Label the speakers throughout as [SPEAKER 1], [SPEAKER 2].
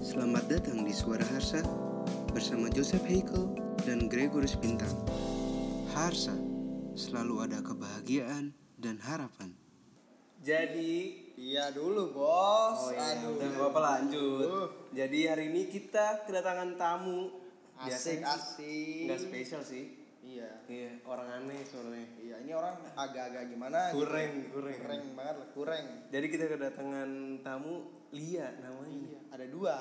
[SPEAKER 1] Selamat datang di Suara Harsa bersama Joseph Heikel dan Gregorius Bintang. Harsa, selalu ada kebahagiaan dan harapan.
[SPEAKER 2] Jadi
[SPEAKER 3] Iya dulu bos.
[SPEAKER 2] Oh iya,
[SPEAKER 3] Aduh.
[SPEAKER 2] udah gak apa-apa lanjut.
[SPEAKER 3] Uh.
[SPEAKER 2] Jadi hari ini kita kedatangan tamu.
[SPEAKER 3] Asik
[SPEAKER 2] Biasanya
[SPEAKER 3] asik.
[SPEAKER 2] Nggak spesial sih.
[SPEAKER 3] Iya.
[SPEAKER 2] Iya, orang aneh soalnya.
[SPEAKER 3] Iya ini orang agak-agak gimana? gitu.
[SPEAKER 2] Kureng, kureng.
[SPEAKER 3] Kureng banget lah. Kureng.
[SPEAKER 2] Jadi kita kedatangan tamu Lia namanya.
[SPEAKER 3] Ada dua.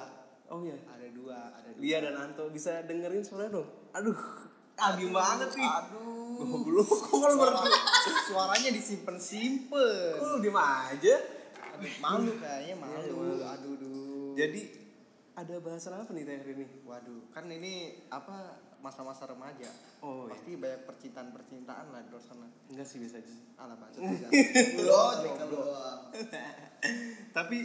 [SPEAKER 2] Oh iya.
[SPEAKER 3] Ada dua. Ada dua.
[SPEAKER 2] Lia dan Anto bisa dengerin suara dong. Aduh, agim banget sih.
[SPEAKER 3] Aduh.
[SPEAKER 2] Goblok, kok lu ber-
[SPEAKER 3] Suara- suaranya disimpen simpen.
[SPEAKER 2] Kok lu diem aja?
[SPEAKER 3] Aduh, malu kayaknya malu.
[SPEAKER 2] malu.
[SPEAKER 3] Aduh duh.
[SPEAKER 2] iya. Jadi ada bahasan apa nih Teh, hari ini?
[SPEAKER 3] Waduh. Kan ini apa masa-masa remaja.
[SPEAKER 2] Oh iya.
[SPEAKER 3] Pasti banyak percintaan percintaan lah di luar sana.
[SPEAKER 2] Enggak sih biasa aja.
[SPEAKER 3] Alah
[SPEAKER 2] Uh.
[SPEAKER 3] bacot. Lo jomblo.
[SPEAKER 2] Tapi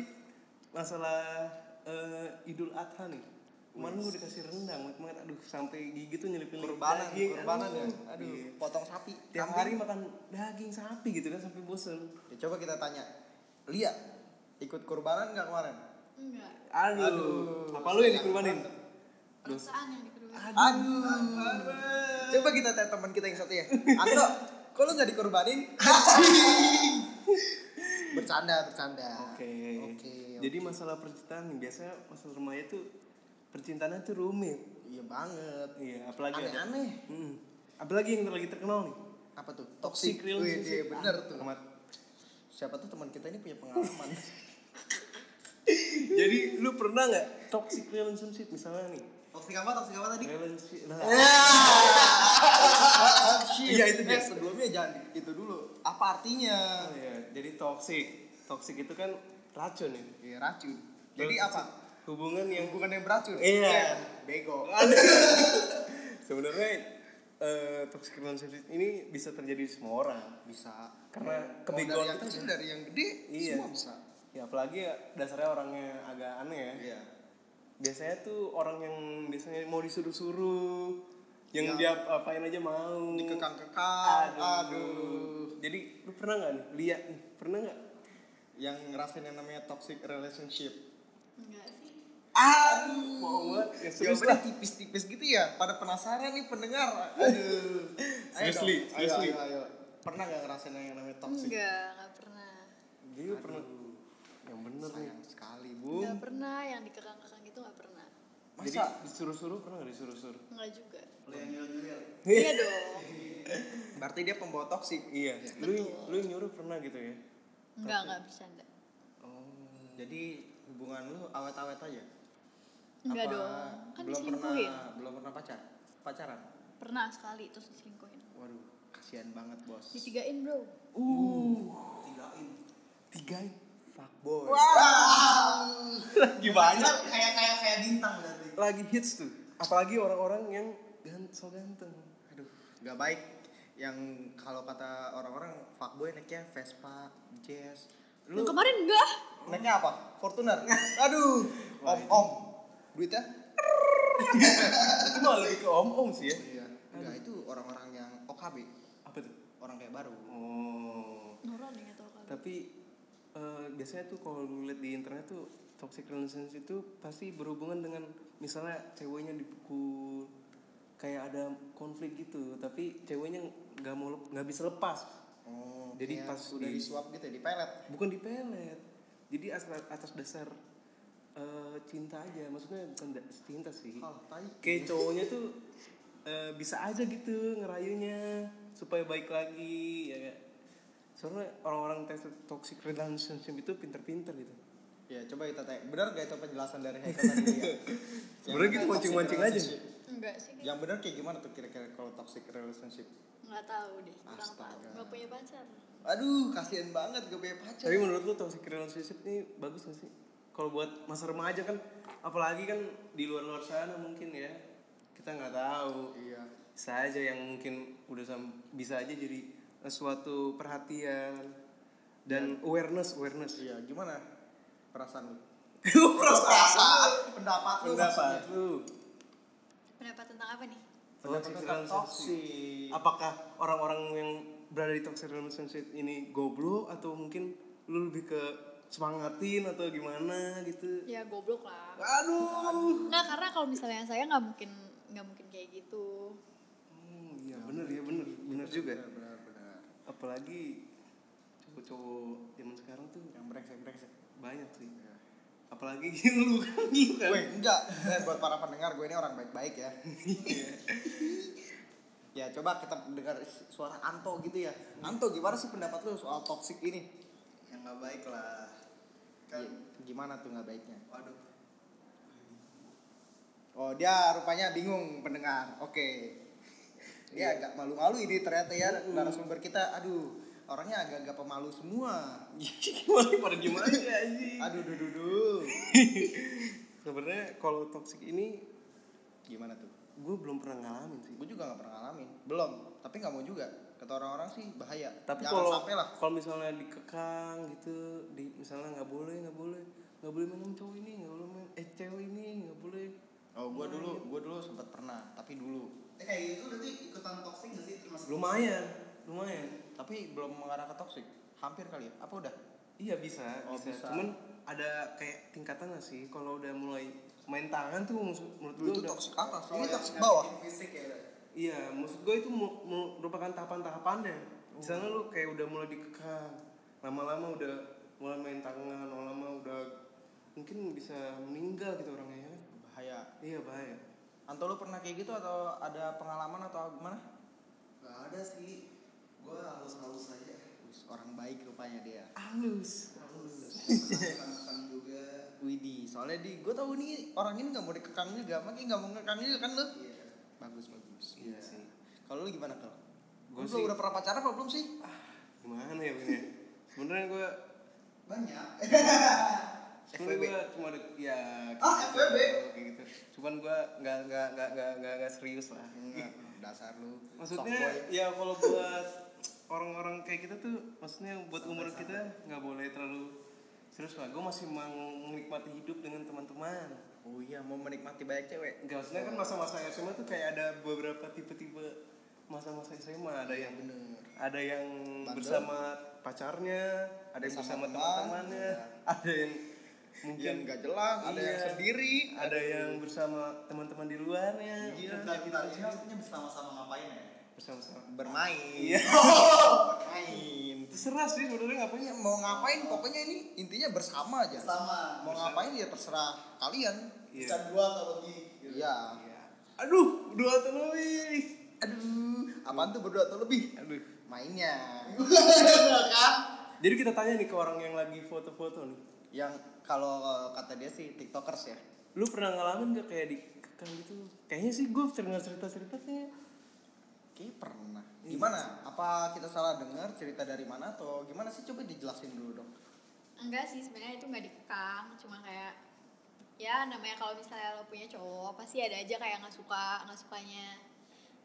[SPEAKER 2] masalah eh, Idul Adha nih. Kemarin gue dikasih rendang, banget aduh sampai gigi tuh nyelipin
[SPEAKER 3] Kurbanan,
[SPEAKER 2] daging,
[SPEAKER 3] kurbanan ya.
[SPEAKER 2] aduh.
[SPEAKER 3] Aduh,
[SPEAKER 2] Iya.
[SPEAKER 3] potong sapi.
[SPEAKER 2] Tiap
[SPEAKER 3] kambing.
[SPEAKER 2] hari makan daging sapi gitu kan sampai bosen.
[SPEAKER 3] Ya, coba kita tanya, Lia ikut kurbanan nggak kemarin?
[SPEAKER 4] Enggak,
[SPEAKER 2] Aduh, apa lu yang dikurbanin?
[SPEAKER 4] perasaan yang diperlukan.
[SPEAKER 3] Aduh. Coba kita tanya teman kita yang satu ya. Anto, kok lu nggak dikorbanin? bercanda, bercanda.
[SPEAKER 2] Oke.
[SPEAKER 3] Oke.
[SPEAKER 2] Jadi masalah percintaan nih, biasanya masalah remaja tuh percintaannya tuh rumit.
[SPEAKER 3] Iya banget.
[SPEAKER 2] Iya, apalagi ada-
[SPEAKER 3] Aneh-aneh.
[SPEAKER 2] Hmm. Apalagi yang lagi terkenal nih.
[SPEAKER 3] Apa tuh?
[SPEAKER 2] Toxic
[SPEAKER 3] Wih, iya,
[SPEAKER 2] relationship.
[SPEAKER 3] bener tuh.
[SPEAKER 2] Amat.
[SPEAKER 3] Siapa tuh teman kita ini punya pengalaman.
[SPEAKER 2] Jadi lu pernah nggak toxic relationship misalnya nih?
[SPEAKER 3] toxic apa? Toxic apa tadi?
[SPEAKER 2] Relationship. Nah,
[SPEAKER 3] Eh? Ah, Iya itu dia. sebelumnya jangan itu dulu. Apa artinya?
[SPEAKER 2] Oh iya, jadi toxic. Toxic itu kan racun ya.
[SPEAKER 3] Iya, racun. Jadi apa?
[SPEAKER 2] Hubungan yang
[SPEAKER 3] bukan yang beracun
[SPEAKER 2] Iya.
[SPEAKER 3] bego
[SPEAKER 2] sebenarnya eh, toxic relationship ini bisa terjadi di semua orang
[SPEAKER 3] bisa Mau Iya,
[SPEAKER 2] karena
[SPEAKER 3] dari
[SPEAKER 2] kebegoan
[SPEAKER 3] yang
[SPEAKER 2] kita
[SPEAKER 3] kecil dari yang gede
[SPEAKER 2] Iya.
[SPEAKER 3] semua bisa
[SPEAKER 2] ya apalagi ya, dasarnya orangnya agak aneh ya.
[SPEAKER 3] Iya.
[SPEAKER 2] Biasanya tuh orang yang biasanya mau disuruh-suruh, yang
[SPEAKER 3] Ya.
[SPEAKER 2] dia apain aja mau.
[SPEAKER 3] dikekang kekang
[SPEAKER 2] Aduh.
[SPEAKER 3] aduh.
[SPEAKER 2] Jadi lu pernah nggak nih lihat nih? Pernah nggak?
[SPEAKER 3] yang ngerasain yang namanya toxic relationship
[SPEAKER 4] Enggak sih.
[SPEAKER 3] aduh
[SPEAKER 2] Mau banget. Ya, serius
[SPEAKER 3] jawabannya
[SPEAKER 2] lah.
[SPEAKER 3] tipis-tipis gitu ya pada penasaran nih pendengar aduh Ayo
[SPEAKER 2] Seriously,
[SPEAKER 3] dong. ayo,
[SPEAKER 2] seriously.
[SPEAKER 3] ayo, ayo. pernah nggak ngerasain yang namanya toxic
[SPEAKER 4] Enggak, enggak pernah.
[SPEAKER 2] Jadi lu pernah yang bener nih.
[SPEAKER 3] sayang sekali bu
[SPEAKER 4] Enggak pernah yang dikekang-kekang gitu enggak pernah.
[SPEAKER 2] Jadi
[SPEAKER 3] Iya. masa
[SPEAKER 2] disuruh-suruh pernah nggak disuruh-suruh?
[SPEAKER 4] Enggak juga.
[SPEAKER 2] Iya.
[SPEAKER 4] Iya dong.
[SPEAKER 3] berarti dia pembawa toxic
[SPEAKER 2] Iya. Lu lu nyuruh pernah gitu ya?
[SPEAKER 4] Enggak, enggak bercanda.
[SPEAKER 3] oh. jadi hubungan lu awet-awet aja
[SPEAKER 4] Enggak
[SPEAKER 3] Apa
[SPEAKER 4] dong. Kan
[SPEAKER 3] belum pernah
[SPEAKER 4] diselingkuhin.
[SPEAKER 3] belum pernah pacar pacaran
[SPEAKER 4] Pernah sekali terus diselingkuhin.
[SPEAKER 3] waduh kasihan banget bos
[SPEAKER 4] Ditigain, Bro.
[SPEAKER 2] Tiga. ya? Fuck.
[SPEAKER 3] boy
[SPEAKER 2] Lagi banyak.
[SPEAKER 3] kayak kayak kayak bintang berarti
[SPEAKER 2] Lagi hits tuh. Apalagi orang-orang yang gan so ganteng.
[SPEAKER 3] aduh nggak baik yang kalau kata orang-orang fuckboy naiknya Vespa Jazz lu
[SPEAKER 4] Yang kemarin enggak.
[SPEAKER 3] naiknya apa Fortuner aduh om om duitnya
[SPEAKER 2] Itu malah lebih ke om-om sih ya.
[SPEAKER 3] iya enggak itu orang-orang yang OKB
[SPEAKER 2] Apa tuh?
[SPEAKER 3] orang kayak baru
[SPEAKER 2] Oh.
[SPEAKER 4] Nurun ya tau kan.
[SPEAKER 2] Tapi eh, biasanya tuh kalau lu lihat di internet tuh toxic relationship itu pasti berhubungan dengan misalnya ceweknya dipukul kayak ada konflik gitu tapi ceweknya nggak mau lep- nggak bisa lepas
[SPEAKER 3] oh
[SPEAKER 2] Jadi
[SPEAKER 3] kayak
[SPEAKER 2] pas
[SPEAKER 3] udah
[SPEAKER 2] di-
[SPEAKER 3] di swap gitu ya, di pelet
[SPEAKER 2] bukan dipelet jadi asal atas dasar eh, cinta aja maksudnya bukan da- cinta sih
[SPEAKER 3] oh, tai
[SPEAKER 2] kayak cowoknya tuh eh, bisa aja gitu ngerayunya supaya baik lagi ya nggak? soalnya orang-orang tes- toxic relationship itu pinter-pinter gitu
[SPEAKER 3] ya coba kita tanya benar gak itu penjelasan dari Haikal tadi dia?
[SPEAKER 2] Sebenarnya gitu
[SPEAKER 3] Yang toxic
[SPEAKER 2] mancing-mancing aja.
[SPEAKER 3] relationship.
[SPEAKER 4] Enggak sih.
[SPEAKER 3] yang benar kayak gimana tuh kira-kira kalau toxic relationship
[SPEAKER 4] Enggak tahu deh. Kurang tahu.
[SPEAKER 3] Astaga.
[SPEAKER 4] Enggak punya pacar.
[SPEAKER 3] aduh kasihan banget gak punya pacar
[SPEAKER 2] tapi menurut lu toxic relationship ini bagus gak sih kalau buat masa remaja kan apalagi kan di luar-luar sana mungkin ya kita nggak tahu
[SPEAKER 3] iya
[SPEAKER 2] bisa aja yang mungkin udah sam- bisa aja jadi eh, suatu perhatian
[SPEAKER 3] Ya.
[SPEAKER 2] dan awareness awareness
[SPEAKER 3] iya gimana perasaan lu
[SPEAKER 2] perasaan
[SPEAKER 3] pendapat lu
[SPEAKER 2] pendapat
[SPEAKER 3] maksudnya.
[SPEAKER 2] lu
[SPEAKER 4] Pendapat tentang apa nih?
[SPEAKER 3] pendapat
[SPEAKER 2] Toxic
[SPEAKER 3] lu tentang
[SPEAKER 2] relationship.
[SPEAKER 3] toxic
[SPEAKER 2] apakah orang-orang yang berada di toxic relationship ini goblok atau mungkin lu lebih ke semangatin atau gimana gitu
[SPEAKER 4] ya goblok lah
[SPEAKER 2] aduh
[SPEAKER 4] Nah karena kalau misalnya saya nggak mungkin nggak mungkin kayak gitu.
[SPEAKER 2] Hmm, iya bener ya bener bener juga
[SPEAKER 3] benar benar
[SPEAKER 2] apalagi cowok-cowok zaman sekarang tuh
[SPEAKER 3] yang brengsek brengsek Iya.
[SPEAKER 2] banyak sih apalagi lu kan lu kan
[SPEAKER 3] Weh, enggak. Eh, buat para pendengar gue ini orang baik-baik ya. ya coba kita dengar suara Anto gitu ya. Anto gimana sih pendapat lu soal toxic ini?
[SPEAKER 5] yang Ya, nggak baik lah kan
[SPEAKER 3] Ya, gimana tuh nggak baiknya?
[SPEAKER 5] waduh
[SPEAKER 3] Oh dia rupanya bingung pendengar. Oke. Dia agak malu-malu ini ternyata ya narasumber kita. Aduh orangnya agak-agak pemalu semua.
[SPEAKER 2] gimana pada diem aja anjing
[SPEAKER 3] Aduh duh duh duh.
[SPEAKER 2] sebenarnya kalau toxic ini
[SPEAKER 3] Gimana tuh?
[SPEAKER 2] gue belum pernah ngalamin sih
[SPEAKER 3] Gue juga nggak pernah ngalamin. Belum. Tapi nggak mau juga. Kata orang-orang sih bahaya.
[SPEAKER 2] tapi
[SPEAKER 3] Jangan
[SPEAKER 2] kalau
[SPEAKER 3] sampai lah.
[SPEAKER 2] kalau misalnya dikekang gitu di misalnya nggak boleh nggak boleh nggak boleh main sama cowok ini nggak boleh main eh cewek ini nggak boleh
[SPEAKER 3] Oh, gua dulu, gua dulu sempat pernah, tapi dulu.
[SPEAKER 5] Hmm. eh kayak gitu berarti ikutan toxic nggak sih termasuk
[SPEAKER 2] lumayan lumayan
[SPEAKER 3] Tapi belum mengarah ke toxic. Hampir kali ya. Apa udah?
[SPEAKER 2] iya bisa
[SPEAKER 3] Oh,
[SPEAKER 2] bisa.
[SPEAKER 3] bisa.
[SPEAKER 2] cuman ada kayak tingkatan nggak sih kalau udah mulai main tangan tuh mus- menurut gue
[SPEAKER 3] Itu
[SPEAKER 2] udah
[SPEAKER 3] toxic atas, ini
[SPEAKER 5] Kalau yang
[SPEAKER 3] toxic
[SPEAKER 5] nyakitin
[SPEAKER 3] bawah.
[SPEAKER 5] fisik ya udah.
[SPEAKER 2] iya maksud gue itu mu- mu- merupakan tahapan-tahapannya
[SPEAKER 3] Oh.
[SPEAKER 2] misalnya lu kayak udah mulai dikekang lama-lama udah mulai main tangan lama-lama udah mungkin bisa meninggal gitu orangnya ya kan?
[SPEAKER 3] Bahaya.
[SPEAKER 2] iya bahaya
[SPEAKER 3] Anto lu pernah kayak gitu atau ada pengalaman atau gimana?
[SPEAKER 5] nggak ada sih gue halus halus aja
[SPEAKER 3] Wis, orang baik rupanya dia.
[SPEAKER 2] halus
[SPEAKER 5] halus
[SPEAKER 2] Iya.
[SPEAKER 5] makan juga
[SPEAKER 3] Widih, soalnya di gua tahu nih orang ini nggak mau dikekang juga, makanya nggak mau ngekang juga kan lu?
[SPEAKER 5] iya
[SPEAKER 3] Bagus bagus.
[SPEAKER 2] Iya sih.
[SPEAKER 3] Kalau lu gimana kalau?
[SPEAKER 2] Gua
[SPEAKER 3] Gua
[SPEAKER 2] sih-
[SPEAKER 3] udah pernah pacaran apa belum sih?
[SPEAKER 2] Gimana ya Bun ya? Sebenarnya gue
[SPEAKER 5] banyak
[SPEAKER 2] sebenarnya
[SPEAKER 3] FWB.
[SPEAKER 2] gue cuma ada ya
[SPEAKER 5] Ah,
[SPEAKER 2] kayak
[SPEAKER 5] FWB.
[SPEAKER 2] gitu, kayak gitu. Cuman gue nggak nggak nggak nggak nggak nggak serius lah.
[SPEAKER 3] Dasar lu.
[SPEAKER 2] Iya. Maksudnya
[SPEAKER 3] soft boy.
[SPEAKER 2] ya kalau buat orang-orang kayak kita tuh maksudnya buat umur kita nggak boleh terlalu serius lah. Gue masih meng- menikmati hidup dengan teman-teman.
[SPEAKER 3] Oh iya, mau menikmati banyak cewek.
[SPEAKER 2] Enggak maksudnya kan masa-masa SMA tuh kayak ada beberapa tipe-tipe masa-masa SMA ada yang
[SPEAKER 3] Bener.
[SPEAKER 2] ada yang
[SPEAKER 3] Bandel.
[SPEAKER 2] bersama pacarnya, ada yang
[SPEAKER 3] Bersama
[SPEAKER 2] bersama
[SPEAKER 3] teman,
[SPEAKER 2] teman-temannya,
[SPEAKER 3] iya.
[SPEAKER 2] ada yang mungkin
[SPEAKER 3] Yang nggak jelas, ada yang
[SPEAKER 2] Iya.
[SPEAKER 3] sendiri,
[SPEAKER 2] ada yang bersama teman-teman di luarnya.
[SPEAKER 3] Iya.
[SPEAKER 5] kita kita ini maksudnya bersama-sama ngapain ya
[SPEAKER 2] Bersama-sama.
[SPEAKER 3] bermain.
[SPEAKER 2] Iya.
[SPEAKER 3] bermain.
[SPEAKER 2] Terserah sih sebenarnya ngapain
[SPEAKER 3] Pokoknya mau ngapain pokoknya ini intinya bersama aja.
[SPEAKER 5] bersama
[SPEAKER 3] Mau ngapain ya terserah kalian.
[SPEAKER 5] bisa
[SPEAKER 2] Iya.
[SPEAKER 5] dua atau lebih gitu.
[SPEAKER 3] Iya.
[SPEAKER 2] Iya. Aduh, dua atau lebih.
[SPEAKER 3] Aduh, apaan tuh berdua atau lebih?
[SPEAKER 2] Aduh.
[SPEAKER 3] Mainnya.
[SPEAKER 2] Jadi kita tanya nih ke orang yang lagi foto-foto nih.
[SPEAKER 3] Yang kalau kata dia sih TikTokers ya.
[SPEAKER 2] Lu pernah ngalamin gak kayak di gitu? Kayaknya sih gue dengar cerita-cerita kayak
[SPEAKER 3] Kayaknya pernah.
[SPEAKER 5] Iya.
[SPEAKER 3] Gimana? Apa kita salah dengar cerita dari mana atau gimana sih coba dijelasin dulu dong.
[SPEAKER 4] Enggak sih sebenarnya itu nggak dikekang, cuma kayak ya namanya kalau misalnya lo punya cowok pasti ada aja kayak nggak suka nggak sukanya.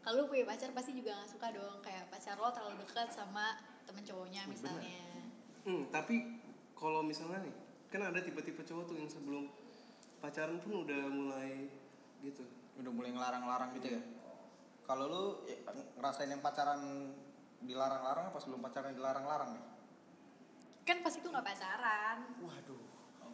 [SPEAKER 4] Kalau lo punya pacar pasti juga nggak suka dong kayak pacar lo terlalu dekat sama temen cowoknya misalnya.
[SPEAKER 2] Hmm, tapi kalau misalnya nih, kan ada tipe-tipe cowok tuh yang sebelum pacaran pun udah mulai gitu.
[SPEAKER 3] Udah mulai ngelarang-larang gitu ya. Kalau lu ya, ngerasain yang pacaran dilarang-larang apa sebelum pacaran dilarang-larang nih?
[SPEAKER 4] Kan pas itu nggak pacaran.
[SPEAKER 3] Waduh.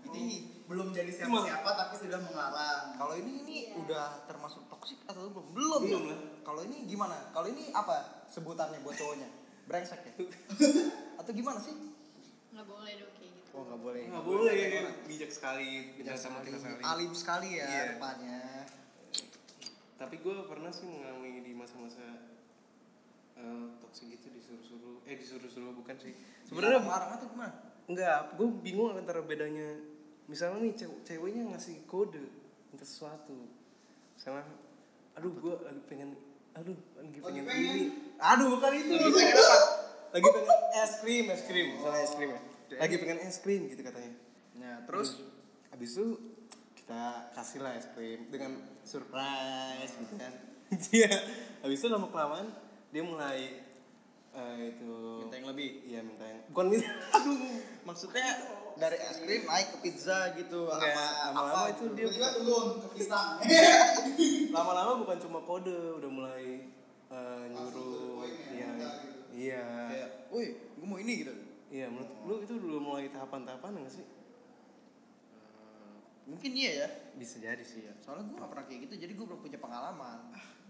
[SPEAKER 5] jadi belum jadi siapa-siapa tapi sudah mengarang
[SPEAKER 3] Kalau ini ini udah termasuk toksik atau belum? Belum.
[SPEAKER 2] Belum
[SPEAKER 3] ya?
[SPEAKER 2] lah.
[SPEAKER 3] Kalau ini gimana? Kalau ini apa sebutannya buat cowoknya? Brengsek ya? atau gimana sih?
[SPEAKER 4] Nggak boleh dong kayak gitu.
[SPEAKER 3] Oh nggak boleh.
[SPEAKER 2] Nggak boleh,
[SPEAKER 3] Nggak boleh.
[SPEAKER 2] bijak sekali, bijak sama kita sekali.
[SPEAKER 3] Alim sekali ya
[SPEAKER 2] Iya.
[SPEAKER 3] rupanya.
[SPEAKER 2] Tapi gue pernah sih mengalami di masa-masa eh toksik gitu disuruh-suruh, eh disuruh-suruh bukan sih. Sebenarnya
[SPEAKER 3] larang Iya, atau gimana?
[SPEAKER 2] Enggak, gue bingung antara bedanya. Misalnya nih cew- ceweknya ngasih kode untuk sesuatu. Misalnya, aduh gue lagi pengen, aduh lagi pengen
[SPEAKER 5] pengen.
[SPEAKER 2] ini. Aduh bukan itu. Lagi pengen apa? Lagi pengen es krim, es krim. Misalnya es krim ya. Lagi pengen es krim gitu katanya.
[SPEAKER 3] Nah terus
[SPEAKER 2] Abis itu kita kasih lah Nah, es krim dengan surprise gitu kan. Dia, abis itu lama kelamaan dia mulai eh, itu
[SPEAKER 3] minta yang lebih.
[SPEAKER 2] Iya minta yang bukan minta. Aduh
[SPEAKER 3] Maksudnya dari es krim naik ke pizza gitu
[SPEAKER 2] Enggak, lama-lama
[SPEAKER 3] apa gitu.
[SPEAKER 2] itu dia
[SPEAKER 5] tiba-tiba belum ke pisang
[SPEAKER 2] lama-lama bukan cuma kode udah mulai eh, nyuruh
[SPEAKER 5] poinnya,
[SPEAKER 2] iya
[SPEAKER 5] minta gitu.
[SPEAKER 2] iya
[SPEAKER 3] kayak, woi gue mau ini gitu.
[SPEAKER 2] Iya, menurut lu itu dulu mulai tahapan-tahapan nggak sih?
[SPEAKER 3] mungkin iya ya
[SPEAKER 2] Bisa jadi sih ya.
[SPEAKER 3] soalnya gue gak pernah kayak gitu jadi gue belum punya pengalaman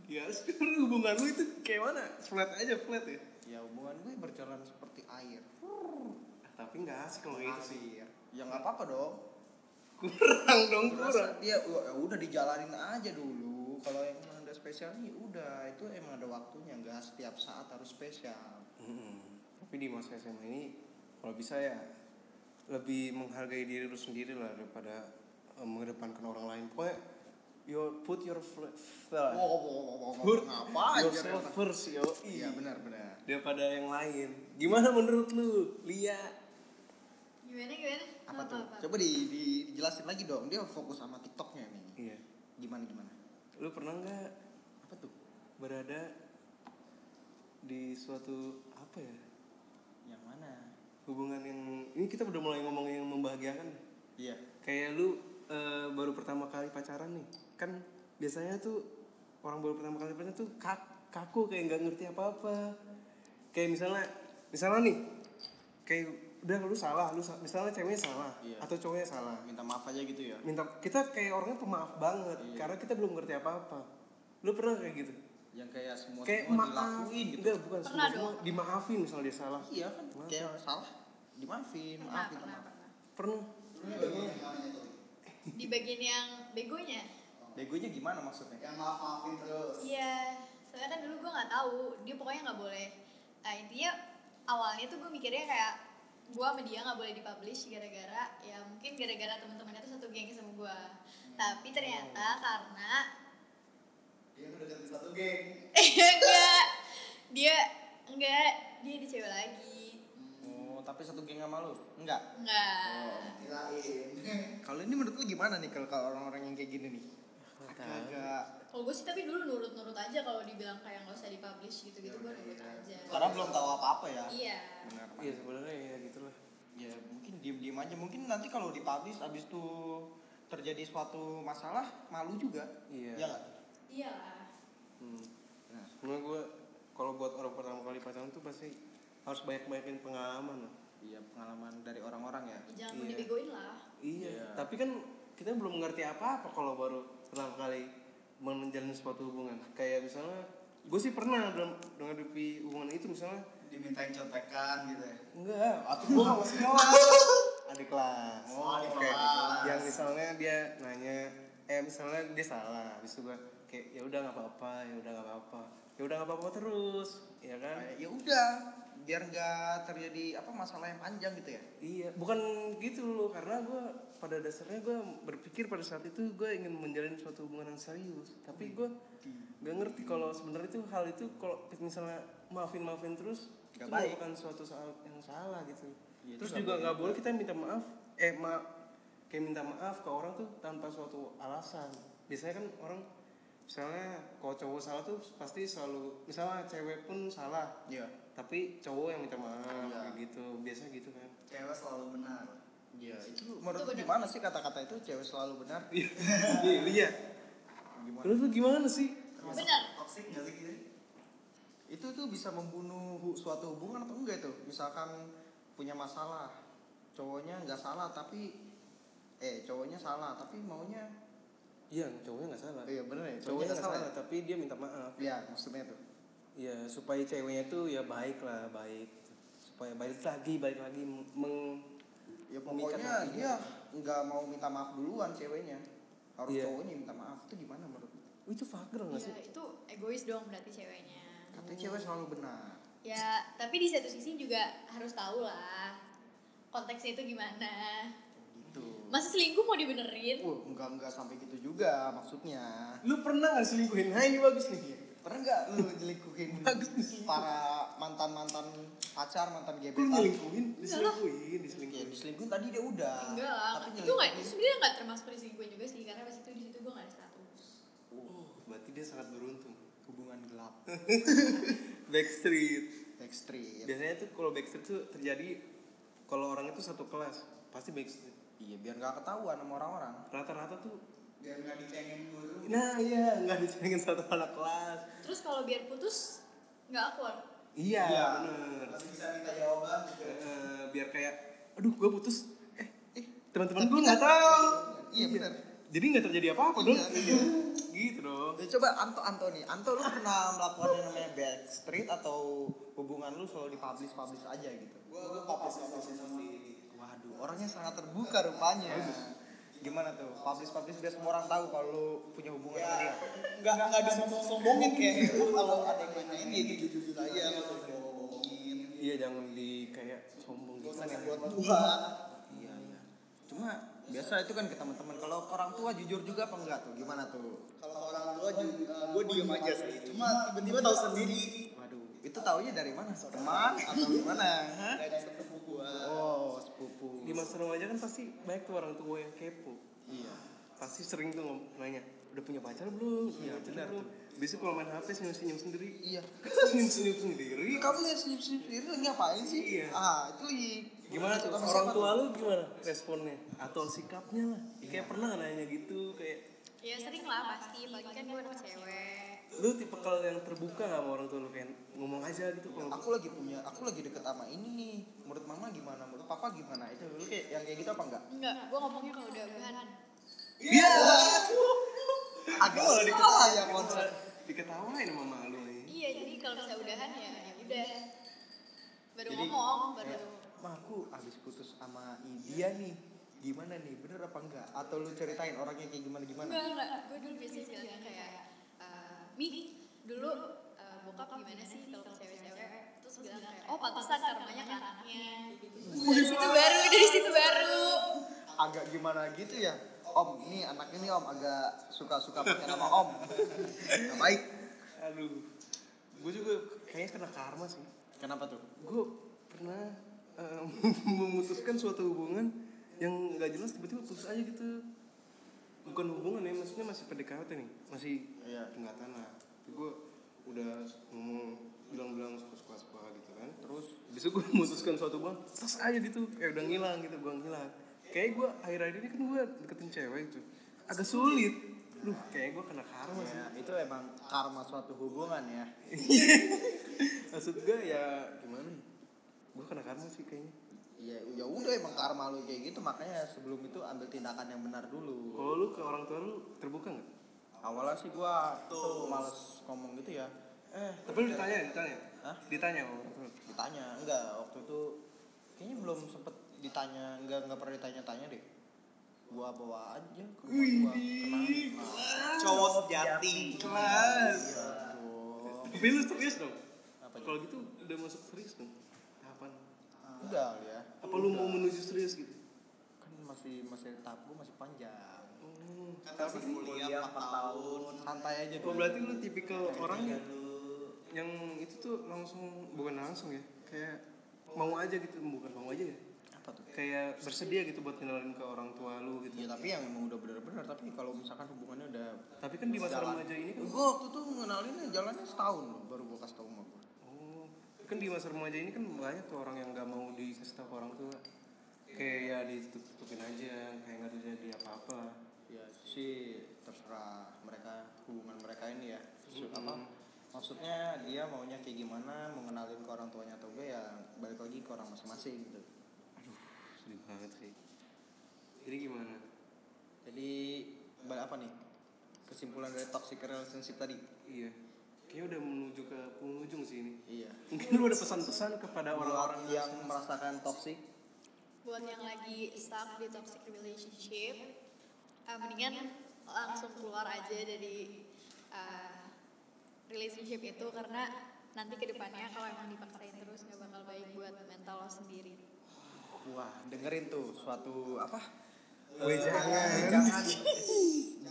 [SPEAKER 2] Ya, sekarang hubungan lu itu kayak mana? Flat aja, flat ya.
[SPEAKER 3] ya hubungan gue berjalan seperti air
[SPEAKER 2] Ah, Tapi nggak asik kalau kayak gitu sih.
[SPEAKER 3] Air. ya nggak apa-apa dong
[SPEAKER 2] Kurang dong,
[SPEAKER 3] Gua
[SPEAKER 2] kurang.
[SPEAKER 3] rasa dia ya udah dijalanin aja dulu kalau yang ada spesialnya udah itu emang ada waktunya nggak setiap saat harus spesial
[SPEAKER 2] Mm-mm. Tapi di masa SMA ini kalau bisa ya lebih menghargai diri lu sendiri lah daripada eh, mengedepankan orang lain. Pokoknya you put your fl-
[SPEAKER 3] wow,
[SPEAKER 2] fl-
[SPEAKER 3] wow, wow, wow, wow.
[SPEAKER 2] Hurt
[SPEAKER 3] ngapain
[SPEAKER 2] yourself first yo.
[SPEAKER 3] iya benar-benar
[SPEAKER 2] Daripada yang lain. Gimana menurut lu, Lia?
[SPEAKER 4] Gimana gimana?
[SPEAKER 3] apa
[SPEAKER 4] Apa,
[SPEAKER 3] tuh
[SPEAKER 4] apa?
[SPEAKER 3] coba di, di- dijelasin lagi dong dia fokus sama tiktoknya nih
[SPEAKER 2] Iya.
[SPEAKER 3] gimana gimana
[SPEAKER 2] Lu pernah nggak
[SPEAKER 3] apa tuh
[SPEAKER 2] berada di suatu apa ya
[SPEAKER 3] yang mana
[SPEAKER 2] hubungan yang ini kita udah mulai ngomong yang membahagiakan nih.
[SPEAKER 3] iya
[SPEAKER 2] kayak lu eh, baru pertama kali pacaran nih kan biasanya tuh orang baru pertama kali pacaran tuh kak- kaku kayak nggak ngerti apa apa kayak misalnya misalnya nih kayak udah lu salah lu sa- misalnya ceweknya salah
[SPEAKER 3] Iya.
[SPEAKER 2] atau cowoknya salah
[SPEAKER 3] minta maaf aja gitu ya
[SPEAKER 2] minta kita kayak orangnya pemaaf banget karena kita belum ngerti apa apa lu pernah kayak gitu
[SPEAKER 3] yang kayak semua
[SPEAKER 2] kayak
[SPEAKER 3] semua
[SPEAKER 2] maaf
[SPEAKER 3] dilakuin gitu
[SPEAKER 2] enggak bukan
[SPEAKER 4] Pernah
[SPEAKER 2] semua, semua dimaafin misalnya dia salah
[SPEAKER 3] iya kan kayak salah dimaafin
[SPEAKER 4] Pernah,
[SPEAKER 3] maaf minta
[SPEAKER 4] pernah,
[SPEAKER 3] maaf
[SPEAKER 4] pernah.
[SPEAKER 2] pernah
[SPEAKER 4] Di bagian yang begonya.
[SPEAKER 3] begonya gimana maksudnya
[SPEAKER 5] Yang maaf maafin terus.
[SPEAKER 4] Iya. Soalnya kan dulu gue nggak tahu. Dia pokoknya nggak boleh. Nah, intinya awalnya tuh gue mikirnya kayak gue sama dia nggak boleh dipublish gara-gara ya mungkin gara-gara teman-temannya tuh satu geng sama gue. Tapi ternyata karena
[SPEAKER 5] Dia udah deketin satu geng.
[SPEAKER 4] enggak dia enggak dia di cewek lagi
[SPEAKER 3] Oh, tapi satu geng sama lu? Enggak.
[SPEAKER 4] enggak
[SPEAKER 5] Kirain.
[SPEAKER 3] Kalau ini menurut lu gimana nih kalau kalau orang-orang yang kayak gini nih? Agak
[SPEAKER 4] kalau gue sih tapi dulu nurut-nurut aja kalau dibilang kayak nggak usah dipublish gitu-gitu gue nurut aja
[SPEAKER 3] karena belum tahu apa-apa ya.
[SPEAKER 4] iya
[SPEAKER 3] Benar. Pak.
[SPEAKER 2] iya sebenarnya ya gitulah
[SPEAKER 3] Ya mungkin diem-diem aja. Mungkin nanti kalau dipublish abis itu terjadi suatu masalah malu juga.
[SPEAKER 2] Iya.
[SPEAKER 3] Ya nggak?
[SPEAKER 4] iya lah
[SPEAKER 2] Hmm.
[SPEAKER 3] Nah.
[SPEAKER 2] Sebenarnya gue kalau buat orang pertama kali pacaran tuh pasti harus banyak-banyakin pengalaman lah.
[SPEAKER 3] Iya pengalaman dari orang-orang ya.
[SPEAKER 4] jangan mau
[SPEAKER 2] Iya.
[SPEAKER 4] dibegoin lah
[SPEAKER 2] Iya.
[SPEAKER 3] Iya.
[SPEAKER 2] Tapi kan kita belum mengerti apa-apa kalau baru pertama kali men- menjalin suatu hubungan. Kayak misalnya gue sih pernah dalam menghadapi hubungan itu misalnya
[SPEAKER 5] Dimintain contekan gitu ya.
[SPEAKER 2] enggak atau gue sama semua adik
[SPEAKER 3] Nah,
[SPEAKER 2] kelas
[SPEAKER 5] Oh, adik
[SPEAKER 2] Oke.
[SPEAKER 5] kelas.
[SPEAKER 2] yang misalnya dia nanya eh misalnya dia salah habis itu gue kayak ya udah nggak apa-apa ya udah nggak apa-apa ya udah nggak apa-apa terus ya kan
[SPEAKER 3] Kayak, Ya udah, biar nggak terjadi apa masalah yang panjang gitu ya.
[SPEAKER 2] Iya, bukan gitu loh karena gue pada dasarnya gue berpikir pada saat itu gue ingin menjalin suatu hubungan yang serius, tapi gue gak ngerti kalau sebenarnya itu hal itu kalau misalnya maafin maafin terus
[SPEAKER 3] Gak
[SPEAKER 2] itu
[SPEAKER 3] baik.
[SPEAKER 2] bukan suatu soal yang salah gitu.
[SPEAKER 3] Iya, itu
[SPEAKER 2] terus
[SPEAKER 3] gak
[SPEAKER 2] juga
[SPEAKER 3] boleh
[SPEAKER 2] nggak boleh kita minta maaf, eh ma kayak minta maaf ke orang tuh tanpa suatu alasan. Biasanya kan orang misalnya kalau cowok salah tuh pasti selalu misalnya cewek pun salah
[SPEAKER 3] Iya.
[SPEAKER 2] tapi cowok yang minta maaf
[SPEAKER 3] Iya.
[SPEAKER 2] kayak gitu biasanya gitu kan
[SPEAKER 5] Cewek selalu benar.
[SPEAKER 3] Iya, itu menurut
[SPEAKER 4] Itu
[SPEAKER 3] lu
[SPEAKER 4] benar.
[SPEAKER 3] gimana sih kata-kata itu cewek selalu benar?
[SPEAKER 2] Iya, Iya.
[SPEAKER 3] Gimana?
[SPEAKER 2] Terus lu gimana sih?
[SPEAKER 5] Termasuk
[SPEAKER 4] Benar.
[SPEAKER 5] Toxic nggak sih gitu?
[SPEAKER 3] itu tuh bisa membunuh hu- suatu hubungan atau enggak itu misalkan punya masalah cowoknya nggak salah tapi eh cowoknya salah tapi maunya
[SPEAKER 2] Iya, cowoknya nggak salah.
[SPEAKER 3] iya bener ya
[SPEAKER 2] Cowoknya
[SPEAKER 3] nggak
[SPEAKER 2] nggak salah, tapi dia minta maaf.
[SPEAKER 3] ya maksudnya tuh
[SPEAKER 2] Ya supaya ceweknya tuh ya baik lah, baik. Supaya balik lagi, balik lagi meng.
[SPEAKER 3] ya
[SPEAKER 2] Memikat
[SPEAKER 3] pokoknya
[SPEAKER 2] hatinya.
[SPEAKER 3] dia nggak mau minta maaf duluan ceweknya harus
[SPEAKER 2] Iya.
[SPEAKER 3] cowoknya yang minta maaf itu gimana menurut lu?
[SPEAKER 2] Wih, itu fucker nggak
[SPEAKER 4] Iya,
[SPEAKER 2] sih?
[SPEAKER 4] itu egois dong berarti ceweknya
[SPEAKER 3] katanya cewek selalu benar
[SPEAKER 4] ya tapi di satu sisi juga harus tahu lah konteksnya itu gimana
[SPEAKER 3] gitu
[SPEAKER 4] masa selingkuh mau dibenerin
[SPEAKER 3] Wah, enggak enggak sampai gitu juga maksudnya
[SPEAKER 2] Iya. Lu pernah nggak selingkuhin? Nah ini bagus nih.
[SPEAKER 3] pernah nggak lu nyelikuhin para mantan mantan pacar mantan
[SPEAKER 2] Lu
[SPEAKER 3] gebetan
[SPEAKER 2] nyelingkuhin,
[SPEAKER 4] Enggak lah.
[SPEAKER 2] diselingkuhin,
[SPEAKER 3] Ya,
[SPEAKER 2] diselingkuhin.
[SPEAKER 3] diselingkuhin tadi dia
[SPEAKER 2] Iya,
[SPEAKER 3] udah.
[SPEAKER 4] enggak lah
[SPEAKER 3] Tapi
[SPEAKER 4] itu nggak
[SPEAKER 3] nyelingkuhin.
[SPEAKER 4] itu sebenarnya nggak termasuk diselingkuhin juga sih karena pas itu di situ gue nggak ada status
[SPEAKER 2] Oh, berarti dia sangat beruntung.
[SPEAKER 4] ya?
[SPEAKER 3] hubungan gelap.
[SPEAKER 2] Backstreet.
[SPEAKER 3] Backstreet.
[SPEAKER 2] Biasanya tuh kalau backstreet tuh terjadi kalau orang itu satu kelas pasti backstreet.
[SPEAKER 3] Iya, biar nggak ketahuan sama orang-orang.
[SPEAKER 2] Rata-rata tuh
[SPEAKER 5] Biar nggak dicengin guru.
[SPEAKER 2] Nah iya, nggak dicengin satu anak kelas
[SPEAKER 4] terus kalau biar putus nggak akur
[SPEAKER 2] Iya,
[SPEAKER 3] Iya.
[SPEAKER 2] bener.
[SPEAKER 5] Masih bisa minta jawaban gitu.
[SPEAKER 2] Eh, biar kayak, aduh gue putus. Eh, eh teman-teman
[SPEAKER 3] Tapi
[SPEAKER 2] gue nggak
[SPEAKER 3] nggak
[SPEAKER 2] tahu.
[SPEAKER 3] Iya, bener.
[SPEAKER 2] Jadi nggak terjadi apa-apa dong.
[SPEAKER 3] Iya, iya.
[SPEAKER 2] gitu dong.
[SPEAKER 3] Ya, coba Anto Anto nih, Anto lu pernah melakukan yang namanya backstreet atau hubungan lu selalu dipublish publish aja gitu?
[SPEAKER 5] Gue gue publish publish sama si
[SPEAKER 3] Waduh, orangnya sangat terbuka rupanya. Gimana tuh? Publish publish biar semua orang tahu kalau lu punya hubungan sama dia.
[SPEAKER 5] nggak nggak disombong-sombongin kayak gitu. kalau ada yang nanyain dia gitu jujur aja nggak usah bohongin
[SPEAKER 2] Iya jangan di kayak sombong gitu.
[SPEAKER 5] Bukan yang buat Tuhan
[SPEAKER 3] Iya, iya. Cuma biasa itu kan ke teman-teman. Kalau ke orang tua jujur juga apa enggak tuh? Gimana tuh?
[SPEAKER 5] kalau ke orang tua
[SPEAKER 3] eh,
[SPEAKER 5] gue diem aja sih cuma tiba-tiba tahu sendiri
[SPEAKER 3] Waduh, itu taunya dari mana? Teman atau gimana? Hah?
[SPEAKER 5] dari sepupu gue
[SPEAKER 3] Oh, sepupu.
[SPEAKER 2] Di masa remaja kan pasti banyak tuh orang tua yang kepo.
[SPEAKER 3] Iya.
[SPEAKER 2] Pasti sering tuh ngom- nanya, udah punya pacar belum? Iya benar tuh. Besok kalau main HP senyum-senyum sendiri.
[SPEAKER 3] Iya.
[SPEAKER 2] senyum-senyum sendiri.
[SPEAKER 3] Ih, Kamu lihat senyum-senyum sendiri lagi ngapain sih?
[SPEAKER 2] Iya.
[SPEAKER 3] Ah, itu lagi
[SPEAKER 2] Gimana tuh
[SPEAKER 3] sama
[SPEAKER 2] orang
[SPEAKER 3] siapa
[SPEAKER 2] tua lu gimana responnya? Atau sikapnya lah. Kayak pernah nggak nanya gitu kayak
[SPEAKER 4] ya sering lah pasti apalagi kan gue anak cewek
[SPEAKER 2] lu tipe kalau yang terbuka nggak sama orang tua lu kayak ngomong aja gitu kalau
[SPEAKER 3] Aku lagi punya, aku lagi deket sama ini nih. Menurut mama gimana? Menurut papa gimana? Itu lu kayak yang kayak gitu apa enggak?
[SPEAKER 4] enggak gue ngomongnya kalau udah udahan
[SPEAKER 3] Iya. Agak salah ya kontrak.
[SPEAKER 2] diketawain sama mama lu nih.
[SPEAKER 4] iya jadi kalau bisa udahan ya ya udah baru ngomong baru
[SPEAKER 2] ya.
[SPEAKER 3] Ma aku abis putus sama i- dia nih. Gimana nih? Bener apa enggak? Atau lu ceritain orangnya kayak gimana gimana?
[SPEAKER 4] enggak enggak gue dulu biasanya bilangnya kayak eh, mi dulu eh, bokap gimana sih kalau ke cewek-cewek terus bilang kayak oh pantesan karmanya ke anaknya dari situ baru dari situ baru
[SPEAKER 3] Agak gimana gitu ya? Om, ini anak ini om agak suka-suka pakai nama om. Gak baik.
[SPEAKER 2] Aduh. Gue juga kayaknya kena karma sih.
[SPEAKER 3] Kenapa tuh?
[SPEAKER 2] gue pernah eh, memutuskan suatu hubungan yang nggak jelas tiba-tiba putus aja gitu bukan hubungan ya maksudnya masih PDKT nih masih
[SPEAKER 3] Iya.
[SPEAKER 2] tingkatan lah gue udah ngomong bilang-bilang suka-suka suka gitu kan terus besok gue memutuskan suatu hubungan terus aja gitu kayak udah ngilang gitu gue ngilang kayak gue akhir-akhir ini kan gue deketin cewek itu agak sulit Duh, kayak gue kena karma sih.
[SPEAKER 3] Ya, itu emang karma suatu hubungan ya.
[SPEAKER 2] Maksud gue ya gimana? Gue kena karma sih kayaknya.
[SPEAKER 3] Ya, ya udah emang karma lu kayak gitu makanya sebelum itu ambil tindakan yang benar dulu.
[SPEAKER 2] Kalau lu ke orang tua lu terbuka nggak?
[SPEAKER 3] Awalnya sih gua tuh males ngomong gitu ya. Eh,
[SPEAKER 2] Tapi lu ditanya, ditanya.
[SPEAKER 3] Hah?
[SPEAKER 2] Ditanya. sama orang tua.
[SPEAKER 3] ditanya enggak waktu itu kayaknya belum sempet ditanya enggak enggak pernah ditanya-tanya deh gua bawa aja ke rumah gua kenapa
[SPEAKER 5] cowok sejati
[SPEAKER 2] Kelas.
[SPEAKER 3] Aduh.
[SPEAKER 2] Tapi lu serius dong.
[SPEAKER 3] Iya, apa ya?
[SPEAKER 2] Kalau gitu udah masuk serius dong. Tahapan.
[SPEAKER 3] udah ya
[SPEAKER 2] Apa lu mau menuju serius gitu?
[SPEAKER 3] kan masih masih tahap gua masih panjang
[SPEAKER 2] Oh.
[SPEAKER 5] kan masih kuliah 4 tahun
[SPEAKER 3] santai aja
[SPEAKER 2] Oh
[SPEAKER 3] dulu
[SPEAKER 2] berarti lu tipikal orang ya? yang yang itu tuh langsung bukan langsung ya kayak mau aja gitu bukan mau aja ya
[SPEAKER 3] apa tuh
[SPEAKER 2] kayak bersedia gitu buat kenalin ke orang tua lu gitu
[SPEAKER 3] ya tapi yang emang udah bener-bener tapi kalau misalkan hubungannya udah
[SPEAKER 2] tapi kan di masa
[SPEAKER 3] Jalan.
[SPEAKER 2] remaja ini kan
[SPEAKER 3] gua waktu tuh ngenalinnya jalannya setahun loh baru gua kasih tau sama gua
[SPEAKER 2] Oh, kan di masa remaja ini kan banyak tuh orang yang nggak mau dikasih tahu ke orang tua. Kayak ya ditutup-tutupin aja, kayak nggak terjadi apa-apa. lah.
[SPEAKER 3] ya itu sih terserah mereka hubungan mereka ini ya Maksud- apa maksudnya dia maunya kayak gimana mau ngenalin ke orang tuanya atau enggak ya balik lagi ke orang masing-masing gitu
[SPEAKER 2] Sedih banget sih. Jadi gimana?
[SPEAKER 3] jadi balik apa nih kesimpulan dari toxic relationship tadi
[SPEAKER 2] Iya. Kayaknya udah menuju ke penghujung sih ini.
[SPEAKER 3] iya
[SPEAKER 2] Mungkin lu ada pesan-pesan kepada orang-orang
[SPEAKER 3] orang yang merasakan toxic
[SPEAKER 4] buat yang lagi stuck di toxic relationship eh, mendingan langsung keluar aja dari eh, relationship itu karena nanti kedepannya kalau emang dipaksain terus nggak bakal baik buat mental lo sendiri
[SPEAKER 3] wah dengerin tuh suatu apa
[SPEAKER 2] Weh, jangan.
[SPEAKER 3] Eh, jangan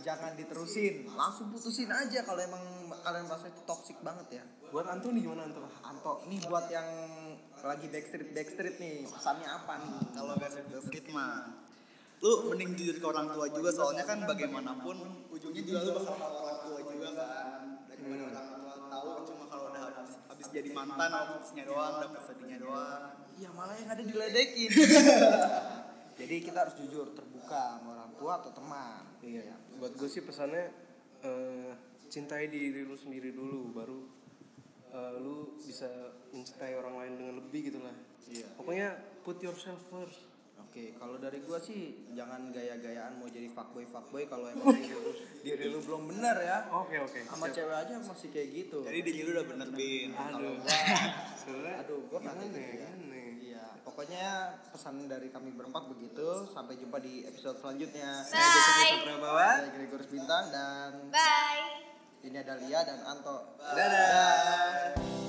[SPEAKER 3] jangan diterusin langsung putusin aja kalau emang kalian merasa itu toxic banget ya
[SPEAKER 2] Buat Anto nih gimana Anto?
[SPEAKER 3] Anto, nih buat yang lagi backstreet backstreet nih, pesannya apa nih?
[SPEAKER 5] kalau versi Backstreet mah lu mending jujur ke orang tua juga soalnya kan bagaimanapun ujungnya juga lu bakal tahu orang tua juga kan daripada orang tua tahu cuma kalau udah habis, habis jadi mantan habisnya doang dapat sedihnya doang
[SPEAKER 3] Ya malah yang ada diledekin. Jadi kita harus jujur, terbuka sama orang tua atau teman.
[SPEAKER 2] Iya. Buat gue sih pesannya eh, cintai diri lu sendiri dulu, baru eh, lu bisa mencintai orang lain dengan lebih gitu lah
[SPEAKER 3] Iya.
[SPEAKER 2] pokoknya put yourself first
[SPEAKER 3] Oke, kalau dari gua sih jangan gaya-gayaan mau jadi fuckboy fuckboy kalau emang diri lu, diri lu belum benar ya.
[SPEAKER 2] oke oke
[SPEAKER 3] Sama
[SPEAKER 2] siap.
[SPEAKER 3] cewek aja masih kayak gitu.
[SPEAKER 5] Jadi diri lu udah bener bin.
[SPEAKER 2] aduh sebenarnya
[SPEAKER 3] Aduh, gua kangen
[SPEAKER 2] aneh
[SPEAKER 3] ya.
[SPEAKER 2] aneh
[SPEAKER 3] Iya, pokoknya pesan dari kami berempat begitu. Sampai jumpa di episode selanjutnya.
[SPEAKER 4] Saya Joseph Bye. Yusuf
[SPEAKER 3] Prabawa, saya Gregorius Bintang dan
[SPEAKER 4] Bye.
[SPEAKER 3] ini ada Lia dan Anto.
[SPEAKER 5] Dadah.
[SPEAKER 3] Bye.